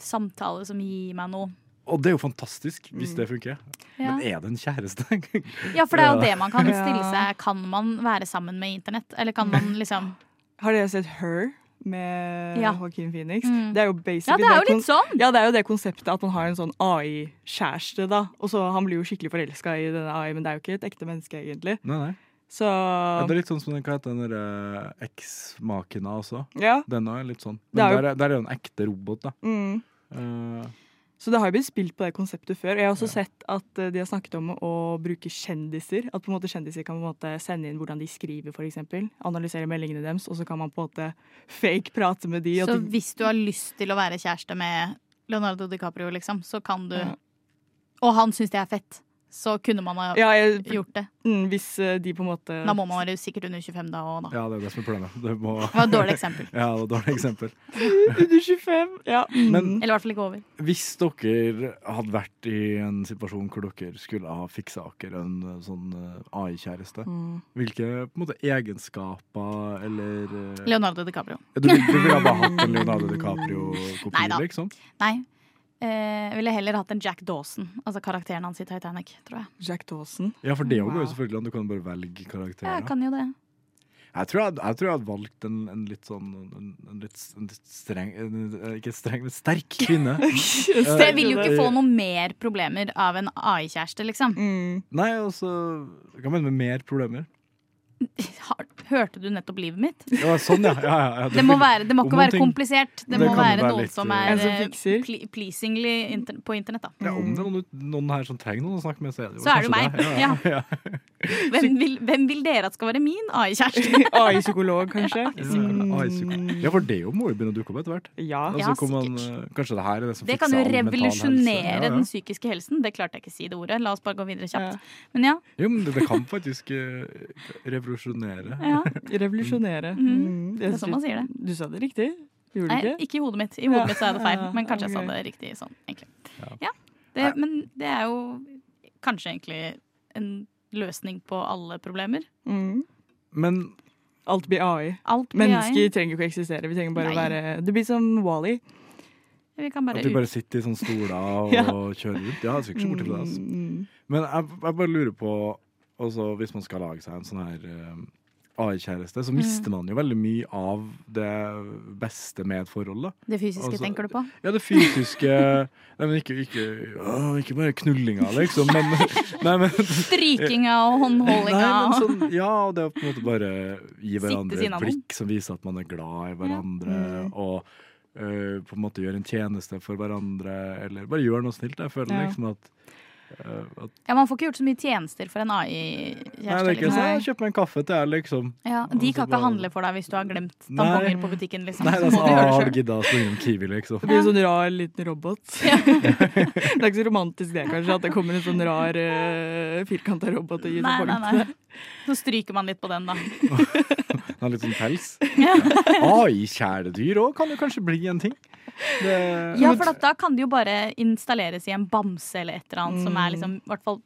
F: samtale som gir meg noe.
C: Og det er jo fantastisk, hvis det funker.
F: Mm. Ja.
C: Men er det en kjæreste? [LAUGHS]
F: Ja, for det er
C: Ja.
F: jo det man kan
H: Ja.
F: stille seg. Kan man være sammen med internett? Eller kan man liksom
H: Har dere sett Her med
F: Ja.
H: Joaquin Phoenix?
F: Mm.
H: Det er jo
F: Ja,
H: basically
F: det er jo
H: kon-
F: litt sånn!
H: Ja, det er jo det konseptet at man har en sånn AI-kjæreste, da. Og så han blir jo skikkelig forelska i denne AI, men det er jo ikke et ekte menneske, egentlig.
C: nei, nei.
H: Så
C: Ja, det er litt sånn som den, hva heter den derre eksmakena også.
H: ja.
C: Den er litt sånn.
H: Det
C: Men
H: er jo-
C: der, er- der er jo en ekte robot, da.
H: Mm.
C: Eh,
H: Så det har jo blitt spilt på det konseptet før. Jeg har også sett at eh, de har snakket om å bruke kjendiser. At på en måte kjendiser kan på en måte sende inn hvordan de skriver, f.eks. Analysere meldingene deres, og så kan man på en måte fake prate med de. og
F: Så
H: ting-
F: hvis du har lyst til å være kjæreste med Leonardo DiCaprio, liksom, så kan du
H: Ja.
F: Og han syns det er fett, så kunne man ha
H: ja, jeg,
F: gjort det.
H: mm, hvis eh, de på en måte
F: Da må man være sikkert under 25 da og da.
C: ja, det er det som er problemet. Det må
F: Det var et
C: [LAUGHS]
F: dårlig eksempel.
C: Ja, det var et dårlig eksempel.
H: [LAUGHS] Under 25! Ja. Mm.
C: Men-
F: Eller i hvert fall ikke over.
C: Hvis dere hadde vært i en situasjon hvor dere skulle ha fiksa dere en eh, sånn eh, AI-kjæreste,
H: Mm.
C: hvilke på en måte, egenskaper eller eh,
F: Leonardo DiCaprio.
C: du, vil- du ville bare hatt en Leonardo DiCaprio-kopi,
F: Neida.
C: liksom?
F: Nei. Eh, jeg ville heller hatt en Jack Dawson, altså karakteren hans i Titanic, tror jeg.
H: Jack Dawson. [LAUGHS]
C: Ja, for det jo går
H: Wow.
C: jo selvfølgelig an. Du kan bare velge karakterer.
F: Jeg kan jo det.
C: Jeg, Jeg tror jeg, jeg tror jeg hadde valgt en, en litt sånn en, en litt, en litt streng en, eh, Ikke streng, men sterk kvinne.
F: [LAUGHS]
H: Eh,
F: Så jeg vil jo ikke få noe mer problemer av en AI-kjæreste, liksom. [LAUGHS]
H: Mm.
C: Nei, altså Hva mener du med mer problemer?
F: Har- Hørte du nettopp livet mitt?
C: Ja, sånn, ja. ja, ja, ja.
F: Det må, være, det må
C: Om
F: ikke
C: noen
F: være
C: ting-
F: komplisert. Det
C: Det
F: må
C: kan
F: være
C: være
F: noe
C: litt,
F: som
C: eh,
F: er
C: En som
F: eh,
H: fikser.
F: ple- pleasingly inter på internett, da.
C: Ja, om det er noen, noen her som trenger noen å snakke med, så er det jo
F: Mm. Så er det
C: kanskje
F: meg.
C: deg. Ja, ja, ja.
F: [LAUGHS] Hvem vil, hvem vil dere at skal være min
C: [LAUGHS]
F: AI-kjæreste?
H: AI-psykolog, kanskje? Mm.
C: Ja, ai, psyko- ja, for det jo må jo begynne å dukke opp etter hvert.
H: Ja.
C: Og så
F: Ja,
C: kommer man, eh, kanskje det her er det som
F: Det kan
C: fikser
F: jo
C: all mental
F: revolusjonere
C: helse. Ja, ja.
F: den psykiske helsen. Det klarte jeg ikke å si det ordet. La oss bare gå videre kjapt. Men ja.
C: Jo, men det, det kan faktisk eh, revolusjonere.
F: ja.
H: Revolusjonere. Mm.
F: Det er sånn man sier det.
H: Du sa det riktig. Gjorde
F: Nei,
H: du ikke?
F: ikke i hodet mitt. I hodet
H: Ja.
F: mitt sa jeg det feil, men kanskje jeg sa
H: Ok.
F: det riktig sånn, egentlig. Ja. Det, men det er jo kanskje egentlig en løsning på alle problemer.
H: Mm.
C: Men
H: Alt blir AI.
F: Alt blir
H: Mennesker
F: AI.
H: trenger jo ikke å eksistere. Vi trenger bare å
F: Nei.
H: være Det blir som Wally.
F: Vi kan bare
C: at vi bare
F: ut.
C: sitter i sånne
F: [LAUGHS]
C: stoler og
H: Ja.
C: kjører rundt. Ja, det er sikkert ikke så borti det.
F: Mm.
C: Altså.
H: Mm.
C: Men jeg, jeg bare lurer på altså, Hvis man skal lage seg en sånn her eh, AI-kjæreste,
F: Mm.
C: så mister man jo veldig mye av det beste med et forhold. da
F: Det fysiske
C: Altså,
F: tenker du på?
C: Ja, det fysiske Nei, men ikke, ikke, å, ikke bare knullinga, liksom. Men,
F: [LAUGHS]
C: nei, men,
F: Strykinga og
C: Nei,
F: håndholdinga
C: men
F: og
C: sånn, ja, og det å på en måte bare gi
F: Sitte
C: hverandre
F: siden
C: et
F: av noen. Mm.
C: blikk som viser at man er glad i hverandre, og øh, på en måte gjøre en tjeneste for hverandre, eller bare gjøre noe snilt. Jeg føler
H: Ja.
C: liksom at, øh, at
F: Ja, man får ikke gjort så mye tjenester for en
C: Nei, det
F: AI-kjæreste.
C: er ikke
F: Liksom.
C: sånn, kjøp meg en kaffe til jeg, liksom.
F: Ja,
C: Og
F: de
C: så
F: kan ikke
C: bare-
F: handle for deg hvis du har glemt tamponger på butikken, liksom.
C: Nei, det er
F: Så [LAUGHS] må
C: sånn,
F: du
C: ah,
F: gjøre
C: har
F: det
C: du
F: sjøl.
C: gidda å slå innom Kiwi, liksom.
H: Det blir en sånn rar liten
F: [LAUGHS]
H: robot. det er ikke så romantisk det, kanskje, at det kommer en sånn rar uh, firkanta robot og gir
F: Nei,
H: seg
F: nei, nei. Så stryker man litt på den, da.
C: Den har litt sånn pels.
F: [LAUGHS]
C: AI-kjæledyr òg kan jo kanskje bli en ting. Det,
F: Ja, for at da kan det jo bare installeres i en bamse eller et eller annet som
C: Mm.
F: er liksom, i hvert fall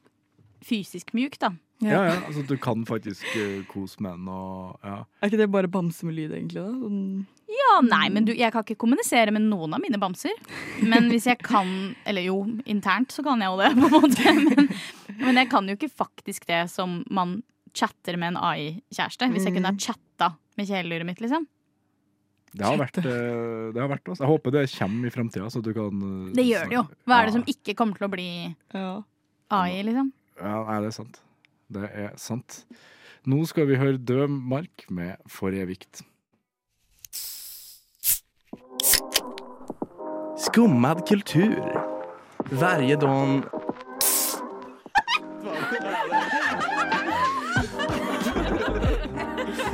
F: fysisk mjuk, da.
C: ja, ja, altså du kan faktisk øh, kose med den og ja.
H: Er ikke det bare bamse med lyd, egentlig? da? Sånn,
F: Ja, nei, men du, jeg kan ikke kommunisere med noen av mine bamser. Men hvis jeg kan Eller jo, internt så kan jeg jo det, på en måte. [LAUGHS] Men, men jeg kan jo ikke faktisk det som man chatter med en AI-kjæreste. Hvis jeg kunne ha chatta med kjæledyret mitt, liksom.
C: Det har vært, eh, det har vært oss. Jeg håper det kommer i framtida, så du kan eh,
F: Det gjør det jo. Hva er det som ikke kommer til å bli
H: ja.
F: AI, liksom?
C: Ja, nei, det er sant. Det er sant. Nå skal vi høre Død mark med Forrige vikt.
G: Skummad kultur. Varje dag.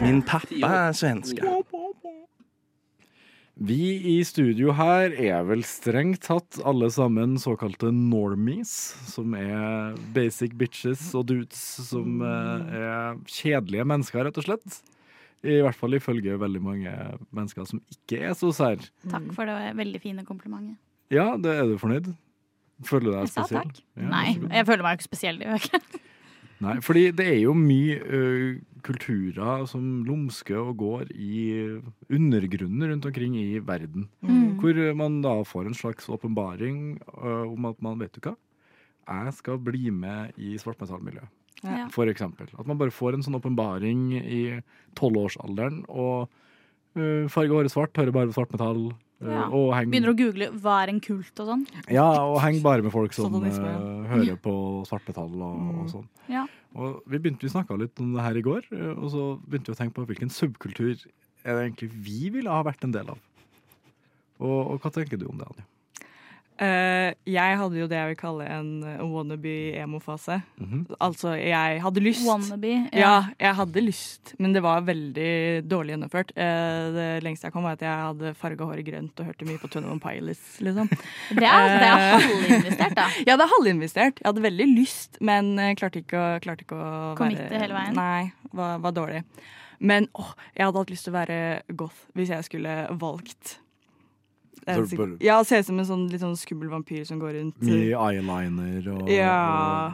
G: Min pappa är svenska.
C: Vi i studio her er vel strengt tatt alle sammen såkalte normies, som er basic bitches og dudes som eh, er kjedelige mennesker, rett og slett. I hvert fall ifølge veldig mange mennesker som ikke er så sær.
F: Takk for det veldig fine komplimentet.
C: Ja, det er du fornøyd? Føler du deg
F: Jeg sa
C: spesiell?
F: takk.
C: Ja,
F: Nei,
C: så bra.
F: jeg føler meg jo ikke spesiell. Det gjør jeg ikke.
C: Nei, fordi det er jo mye ø, kulturer som lumsker og går i undergrunnen rundt omkring i verden.
F: Mm.
C: Hvor man da får en slags åpenbaring ø, om at man, vet du hva, jeg skal bli med i svartmetallmiljøet.
F: Ja.
C: For eksempel. At man bare får en sånn åpenbaring i tolvårsalderen og ø, farge håret svart, hører bare på svartmetall. ø,
F: Ja.
C: Og henger
F: Mm. Begynner å google 'hva er en kult' og sånn.
C: ja, og heng bare med folk som
H: Satanisme, Mm.
C: eh, hører på svartmetall og, og sånn.
F: Ja.
C: Og vi begynte, vi snakka litt om det her i går, eh, og så begynte vi å tenke på hvilken subkultur er det egentlig vi ville ha vært en del av. Og, og hva tenker du om det, Anja?
H: Eh, jeg hadde jo det jeg vil kalle en eh, wannabe-emo-fase.
C: Mhm.
H: Altså, jeg hadde lyst.
F: Wannabe.
H: ja. jeg hadde lyst, men det var veldig dårlig gjennomført. Eh, det lengste jeg kom, var at jeg hadde farga håret grønt og hørte mye på Twenty One Pilots,
F: [LAUGHS]
H: liksom.
F: Det er, det er halvinvestert, da.
H: Ja, det er halvinvestert. Jeg hadde veldig lyst, men eh, klarte ikke å, klarte ikke å
F: Committe
H: være
F: hele veien?
H: Nei, var, var dårlig. Men åh, jeg hadde hatt lyst til å være goth hvis jeg skulle valgt. Jeg
C: Så
H: vet
C: bare-
H: ikke- Ja, se ut som en sånn litt sånn skummel vampyr som går rundt.
C: Mye eyeliner og,
H: Ja,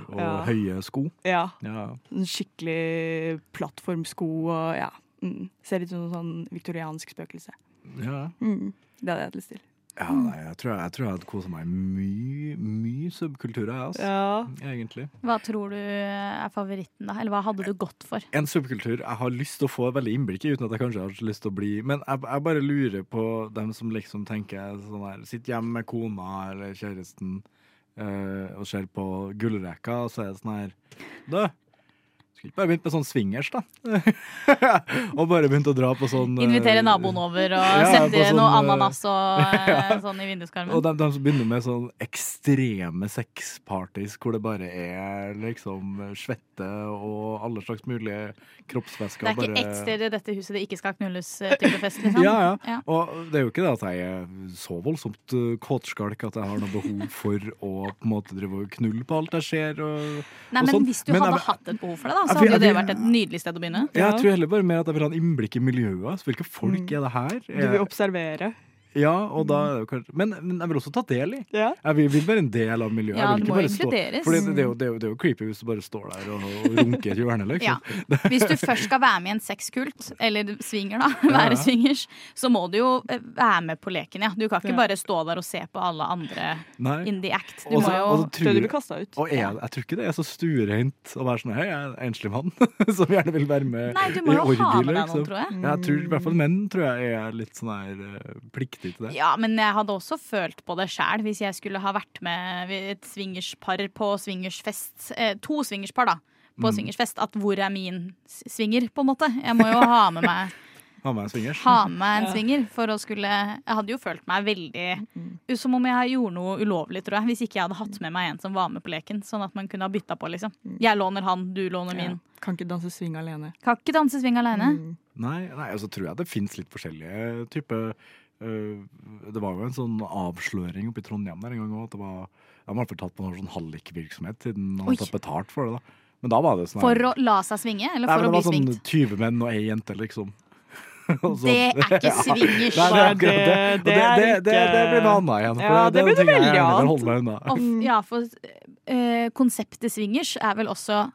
C: og, og
H: ja.
C: høye sko.
H: Ja,
C: Ja.
H: en skikkelig plattformsko og ja. Mm. Ser ut som en sånn viktoriansk spøkelse.
C: ja.
H: Mm. Det hadde jeg hatt lyst til.
C: Ja, nei, jeg tror jeg, jeg tror jeg hadde kosa meg mye, mye subkulturer, jeg, altså. Egentlig.
F: Hva tror du er favoritten, da? Eller hva hadde du gått for?
C: En subkultur jeg har lyst til å få et veldig innblikk i, uten at jeg kanskje har så lyst til å bli Men jeg, jeg bare lurer på dem som liksom tenker sånn her Sitter hjemme med kona eller kjæresten eh, og ser på gullrekka, og så er det sånn her Du, skulle ikke bare begynt med sånn swingers, da? [LAUGHS] og bare begynt å dra på sånn eh,
F: Invitere naboen over og
C: ja,
F: sette
C: på sånn,
F: noe
C: eh,
F: ananas og eh,
C: [LAUGHS] ja.
F: sånn i vinduskarmen?
C: Og de, de som begynner med sånn ekstreme sexparties hvor det bare er liksom svette og alle slags mulige kroppsvæsker.
F: det er ikke
C: bare-
F: ett sted i dette huset det ikke skal knulles-type fest, liksom?
C: Ja, ja. Og det er jo ikke det at jeg er så voldsomt uh, kåtskalk at jeg har noe behov for å på en måte drive og knulle på alt jeg ser. Og, og
F: Nei, men
C: sånn.
F: hvis du
C: Men
F: hadde
C: jeg-
F: hatt et behov for det, da,
C: Jeg
F: så
C: vil-
F: hadde jo det
C: jeg vil-
F: vært et nydelig sted å begynne.
C: Jeg tror heller bare mer at jeg vil ha en innblikk i miljøet. altså, Hvilke folk
F: Mm.
C: er det her?
H: Du vil observere.
C: Ja, og da er det jo
F: Mm.
C: kanskje Men, men jeg vil også ta del i.
H: Ja.
C: Jeg vil, vil være en del av miljøet.
F: Ja,
C: jeg vil
F: du
C: ikke
F: må
C: bare stå-
F: inkluderes.
C: Fordi det, det, er jo, det, er jo, det er jo creepy hvis du bare står der og, og runker i et hjørne. Liksom.
F: Ja. Hvis du først skal være med i en sexkult, eller swinger, da, [LAUGHS]
C: ja.
F: være swingers, så må du jo eh, være med på leken, ja. Du kan ikke
C: Ja.
F: bare stå der og se på alle andre
C: Nei.
F: in the act. Du
C: Og så-
F: må jo
C: og så tror-
H: kasta ut.
C: Og jeg, jeg tror ikke det er så stuereint å være sånn Hei, jeg er en enslig mann [LAUGHS] som gjerne vil være med
F: Nei, du
C: i
F: må jo ha
C: orgier,
F: med deg noen,
C: liksom.
F: tror jeg.
C: Ja, jeg tror, I hvert fall menn tror jeg er litt sånn her eh, pliktig til det.
F: Ja, men jeg hadde også følt på det sjæl hvis jeg skulle ha vært med et swingerspar på swingersfest. Eh, to swingerspar, da, på
C: Mm.
F: swingersfest. At hvor er min s- swinger, på en måte. Jeg må jo ha med meg
C: Ha med en swingers.
F: ha med en swinger for å skulle Jeg hadde jo følt meg veldig Som om jeg gjorde noe ulovlig, tror jeg, hvis ikke jeg hadde hatt med meg en som var med på leken. Sånn at man kunne ha bytta på, liksom.
C: Mm.
F: Jeg låner han, du låner min.
H: Kan ikke danse swing alene.
F: Kan ikke danse swing aleine.
C: Mm. Nei, nei, og så tror jeg det fins litt forskjellige typer eh, Det var jo en sånn avsløring oppe i Trondheim der en gang òg. At det var De var i hvert fall tatt på noe sånn hallikvirksomhet siden han
F: Oi.
C: hadde tatt betalt for det. da. Men da var det sånn her-
F: For å la seg svinge, eller
C: Nei,
F: for
C: men
F: å bli
C: Det var
F: svingt?
C: sånn 20 menn og ei jente, liksom. [LAUGHS] Og så-
F: Det er ikke
C: altså- [LAUGHS] Ja,
F: swingers.
C: Nei, det er akkurat det.
F: Nei, det-
C: Og det, det, det,
F: det er
C: det blir noe
F: ikke-
C: annet igjen. for det,
F: Ja, det blir
C: er noe
F: veldig
C: jeg gjerne vil
F: annet.
C: holde meg unna.
F: Og f- ja, for eh, konseptet swingers er vel også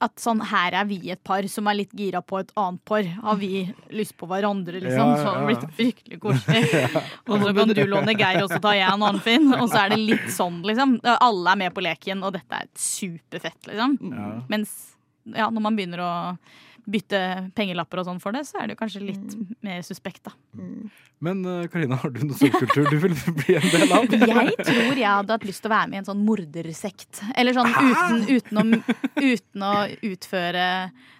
F: at sånn her er vi et par som er litt gira på et annet par. Har vi lyst på hverandre, liksom?
K: Ja,
F: Så har det
K: ja,
F: blitt fryktelig
K: [LAUGHS]
F: koselig. Og så kan du låne Geir, og så tar jeg en Arnfinn. Og så er det litt sånn, liksom. Alle er med på leken, og dette er superfett, liksom.
K: Mm.
C: Ja.
F: Mens ja, når man begynner å bytte pengelapper og sånn for det, så er det jo kanskje litt
K: Mm.
F: mer suspekt, da.
C: Men eh, Karina, har du noen subkultur du vil bli en del av?
F: [LAUGHS] Jeg tror jeg hadde hatt lyst til å være med i en sånn mordersekt. Eller sånn uten, uten, å, uten å utføre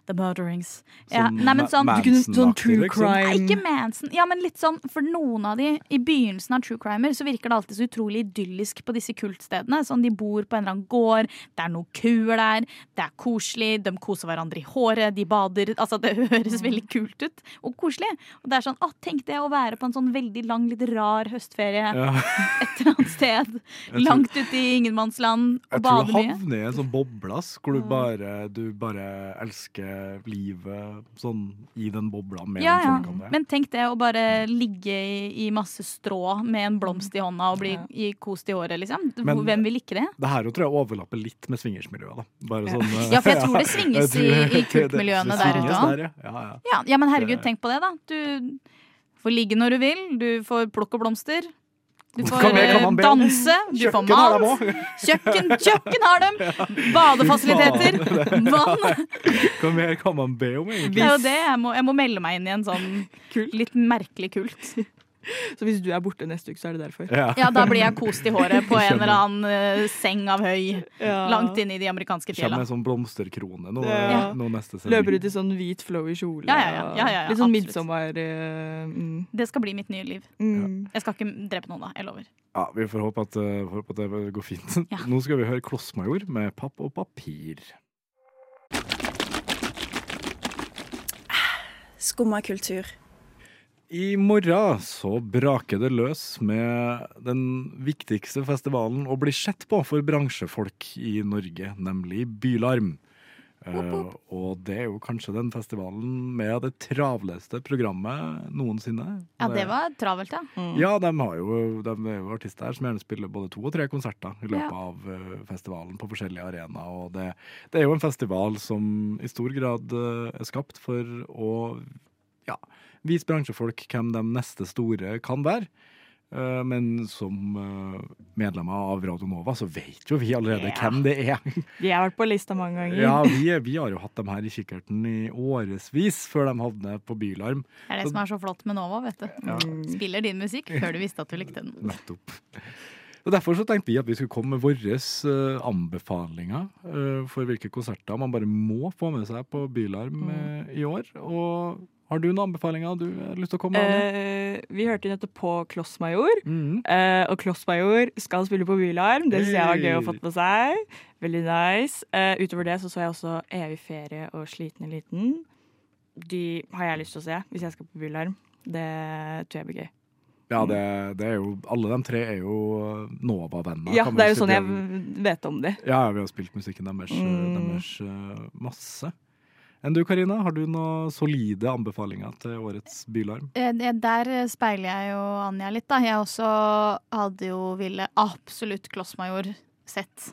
F: the murderings. Ja,
H: Sånn
F: nei, men sånn,
H: Ma- Du kunne- sånn true Manson-aktig, liksom. crime.
F: Nei, ikke Manson. Ja, men litt sånn, for noen av de i begynnelsen av true crimer så virker det alltid så utrolig idyllisk på disse kultstedene. Sånn, de bor på en eller annen gård, det er noen kuer der, det er koselig, de koser hverandre i håret, de bader. Altså, det
H: Mm.
F: høres veldig kult ut og koselig. Og det er sånn, å, tenk det å være på en sånn veldig lang, litt rar høstferie
C: Ja.
F: et eller annet sted.
C: tror-
F: Langt ute i ingenmannsland og
C: Jeg tror du
F: bade mye.
C: havner i en sånn boblas hvor du bare, du bare elsker livet sånn i den bobla med
F: Ja,
C: de
F: ja.
C: folkene der.
F: Men tenk det å bare ligge i, i masse strå med en blomst i hånda og bli i kost i håret, liksom. Hvor-
C: Men-
F: Hvem vil ikke det?
C: Det her jo tror jeg overlapper litt med swingersmiljøet. da. Bare sånn, eh,
F: Ja,
C: [LAUGHS]
F: for jeg tror det
C: jeg
F: svinges
C: tror-
F: i- i
C: det- det-
F: kultmiljøene
C: det
F: der
C: svinges
F: ute også.
C: der, ja. Ja, ja.
F: Ja, ja men herregud,
C: Det-
F: tenk på det, da. Du får ligge når du vil, du får plukke blomster. Du
C: Kan
F: får
C: be- kan
F: eh,
C: man be om-
F: danse, du får
C: Kjøkken har dem
F: mat. Kjøkken, kjøkken har dem!
C: [LAUGHS]
F: Badefasiliteter,
C: Faen, det-
F: vann.
C: Hva mer kan man be om,
F: [LAUGHS]
C: egentlig?
F: Det er jo det. Jeg må, jeg må melde meg inn i en sånn litt merkelig kult.
H: Så hvis du er borte neste uke, så er det derfor.
C: Ja.
F: Ja, da blir jeg kost i håret på en eller annen eh, seng av høy
H: Ja.
F: langt inne i de amerikanske
C: Kjem
F: fjella.
C: med en sånn blomsterkrone nå,
H: Ja.
C: nå neste sending.
H: Løper ut i sånn hvit, flowy kjole.
F: Ja, ja, ja. Ja, ja, ja,
H: Litt sånn
F: absolutt.
H: midtsommer... eh, mm.
F: Det skal bli mitt nye liv.
H: Mm.
F: Jeg skal ikke drepe noen, da. Jeg lover.
C: Ja, Vi får håpe at, eh, får håpe at det går fint. Nå skal vi høre Klossmajor med Papp og papir.
L: Skumma kultur.
C: I morgen så braker det løs med den viktigste festivalen å bli sett på for bransjefolk i Norge, nemlig Bylarm. Eh, og det er jo kanskje den festivalen med det travleste programmet noensinne.
F: Ja, det var travelt, ja.
C: Ja, de, har jo, de er jo artister her som gjerne spiller både to og tre konserter i løpet
F: Ja.
C: av eh, festivalen på forskjellige arenaer. Og det, det er jo en festival som i stor grad eh, er skapt for å ja, vise bransjefolk hvem de neste store kan være. Eh, Men som eh, medlemmer av Radio Nova så vet jo vi allerede hvem det er.
H: Vi har vært på lista mange ganger.
C: [LAUGHS] Ja, vi, [LAUGHS] vi har jo hatt dem her i kikkerten i årevis før de havner på Bylarm.
F: Det er det som er så flott med Nova, vet du.
C: Ja.
F: Spiller din musikk før du visste at du likte den.
C: Nettopp. Og Derfor så tenkte vi at vi skulle komme med våre eh, anbefalinger eh, for hvilke konserter man bare må få med seg på Bylarm eh, i år. Og har du noen anbefalinger du har lyst til å komme med? Mm. Anja?
H: Eh, vi hørte jo nettopp på Klossmajor, eh, og Klossmajor skal spille på Bylarm. Det syns jeg var gøy å få med seg. Veldig nice. Eh, utover det så så jeg også Evig ferie og Sliten i liten. De har jeg lyst til å se hvis jeg skal på Bylarm. Det tror jeg blir gøy.
C: Ja, det, det er jo Alle de tre er jo Nova-venner.
H: Ja,
C: kan
H: det
C: man
H: er
C: si.
H: jo sånn jeg
C: er-
H: vet om de.
C: Ja, ja, vi har spilt musikken deres, eh,
H: Mm.
C: deres eh, masse. Enn du, Karina? Har du noen solide anbefalinger til årets Bylarm?
F: Eh, det- Der speiler jeg jo Anja litt, da. Jeg også hadde jo ville absolutt Klossmajor sett.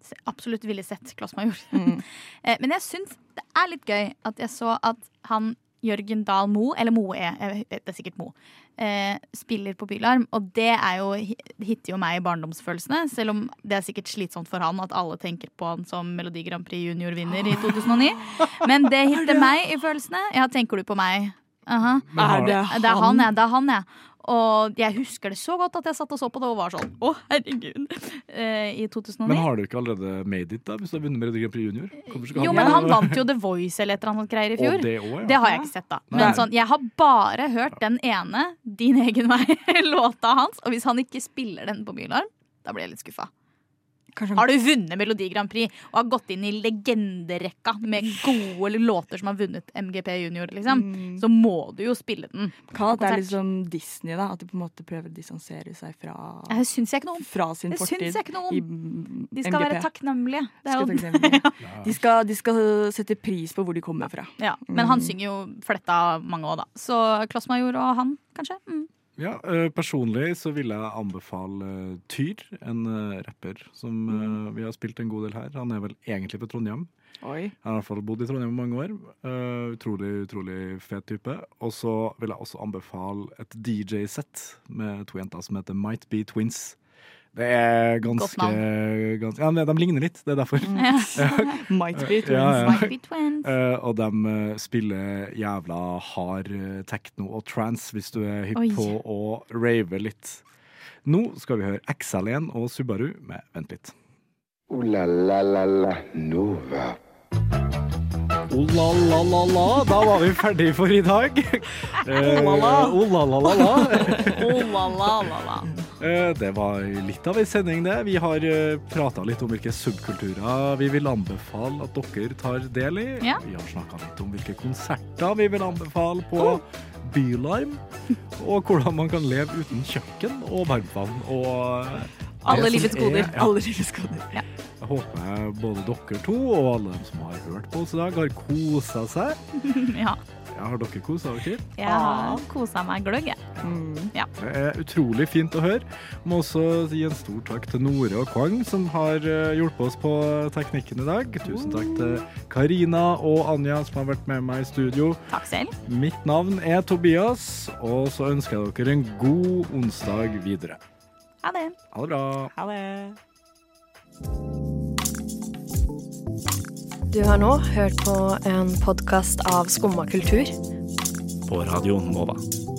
F: Se- Absolutt ville sett Klossmajor. [LAUGHS] Eh, Men jeg syns det er litt gøy at jeg så at han Jørgen Dahl Moe, eller Moe, er, jeg vet- det er sikkert Moe, eh, spiller på Bylarm. Og det er jo, hitter jo meg i barndomsfølelsene, selv om det er sikkert slitsomt for han at alle tenker på han som Melodi Grand Prix junior-vinner i 2009. Men det hitter meg i følelsene. Ja, tenker du på meg? Aha.
K: Men har- Er det
F: Det er
K: han?
F: han, ja. Det er han, ja. Og jeg husker det så godt at jeg satt og så på det og var sånn Å, herregud. Eh, I 2009.
C: Men har du ikke allerede made it, da? Hvis du har vunnet Melodi Grand Prix Junior? Hvorfor skal
F: Jo, men han vant jo The Voice eller et eller annet greier i
C: Og
F: fjor.
C: det også, ja.
F: Det har jeg ikke sett, da.
C: Nei.
F: Men sånn, jeg har bare hørt den ene, Din egen [LAUGHS] vei-låta hans. Og hvis han ikke spiller den på Bylarm, da blir jeg litt skuffa. Har du vunnet Melodi Grand Prix og har gått inn i legenderekka med gode låter som har vunnet MGP Junior, liksom,
C: Mm.
F: så må du jo spille den.
H: Kan Mm. at det
F: på konsert.
H: er litt som Disney, da. At de på en måte prøver å distansere seg fra
F: Det syns jeg ikke noe om.
H: fra sin
F: Det syns
H: fortid.
F: jeg ikke noe om.
H: i m-
F: De skal
H: MGP.
F: være takknemlige. Det er
H: Skal
F: jo [LAUGHS]
H: takknemlige. de, skal, de skal sette pris på hvor de kommer fra.
F: Ja, men
C: Mm.
F: han synger jo fletta mange år, da. Så Klossmajor og han, kanskje. Mm.
C: Ja, eh, Personlig så vil jeg anbefale eh, Tyr, en eh, rapper som eh, vi har spilt en god del her. Han er vel egentlig fra Trondheim.
H: Oi.
C: Han har i hvert fall bodd i Trondheim i mange år. Eh, utrolig, utrolig fet type. Og så vil jeg også anbefale et DJ-sett med to jenter som heter Might Be Twins. Det er
F: Godt
C: ganske,
F: navn. Mm.
C: ganske Ja, men de ligner litt, det er derfor. Ja.
H: Might be
C: [LAUGHS]
H: twins.
C: Ja, ja.
F: Might be twins.
C: Eh, og de eh, spiller jævla hard eh, techno og trance hvis du er hypp
F: Oi.
C: på å rave litt. Nå skal vi høre XL1 og Subaru med Vent litt.
B: Ooh la la la la Nova.
C: Oh la la la la, da var vi ferdig for i dag. [LAUGHS] Eh,
F: Oh la la.
C: oh la la la la.
F: Oh, la, la, la, la.
C: Eh, Det var litt av en sending, det. Vi har prata litt om hvilke subkulturer vi vil anbefale at dere tar del i.
K: Ja.
C: Vi har snakka litt om hvilke konserter vi vil anbefale på
K: Oh.
C: Bylarm. Og hvordan man kan leve uten kjøkken og varmtvann og eh,
K: Alle
C: det som
K: livets
C: er-
K: goder.
C: Ja.
K: Alle
H: livets goder.
C: Jeg håper både dere to og alle dem som har hørt på oss i dag, har kosa seg.
F: ja.
C: Ja, har dere kosa dere?
F: Jeg
C: Ah.
F: har kosa meg gløgg,
H: Hmm.
F: jeg. Ja.
C: Det er utrolig fint å høre. Må også gi en stor takk til Nore og Kwang, som har eh, hjulpet oss på teknikken i dag. Tusen takk til Karina og Anja, som har vært med meg i studio.
F: Takk selv.
C: Mitt navn er Tobias, og så ønsker jeg dere en god onsdag videre.
F: Ha det.
C: Ha det bra.
H: Ha det.
L: Du har nå hørt på en podkast av Skumma kultur.
G: På Radio Nova.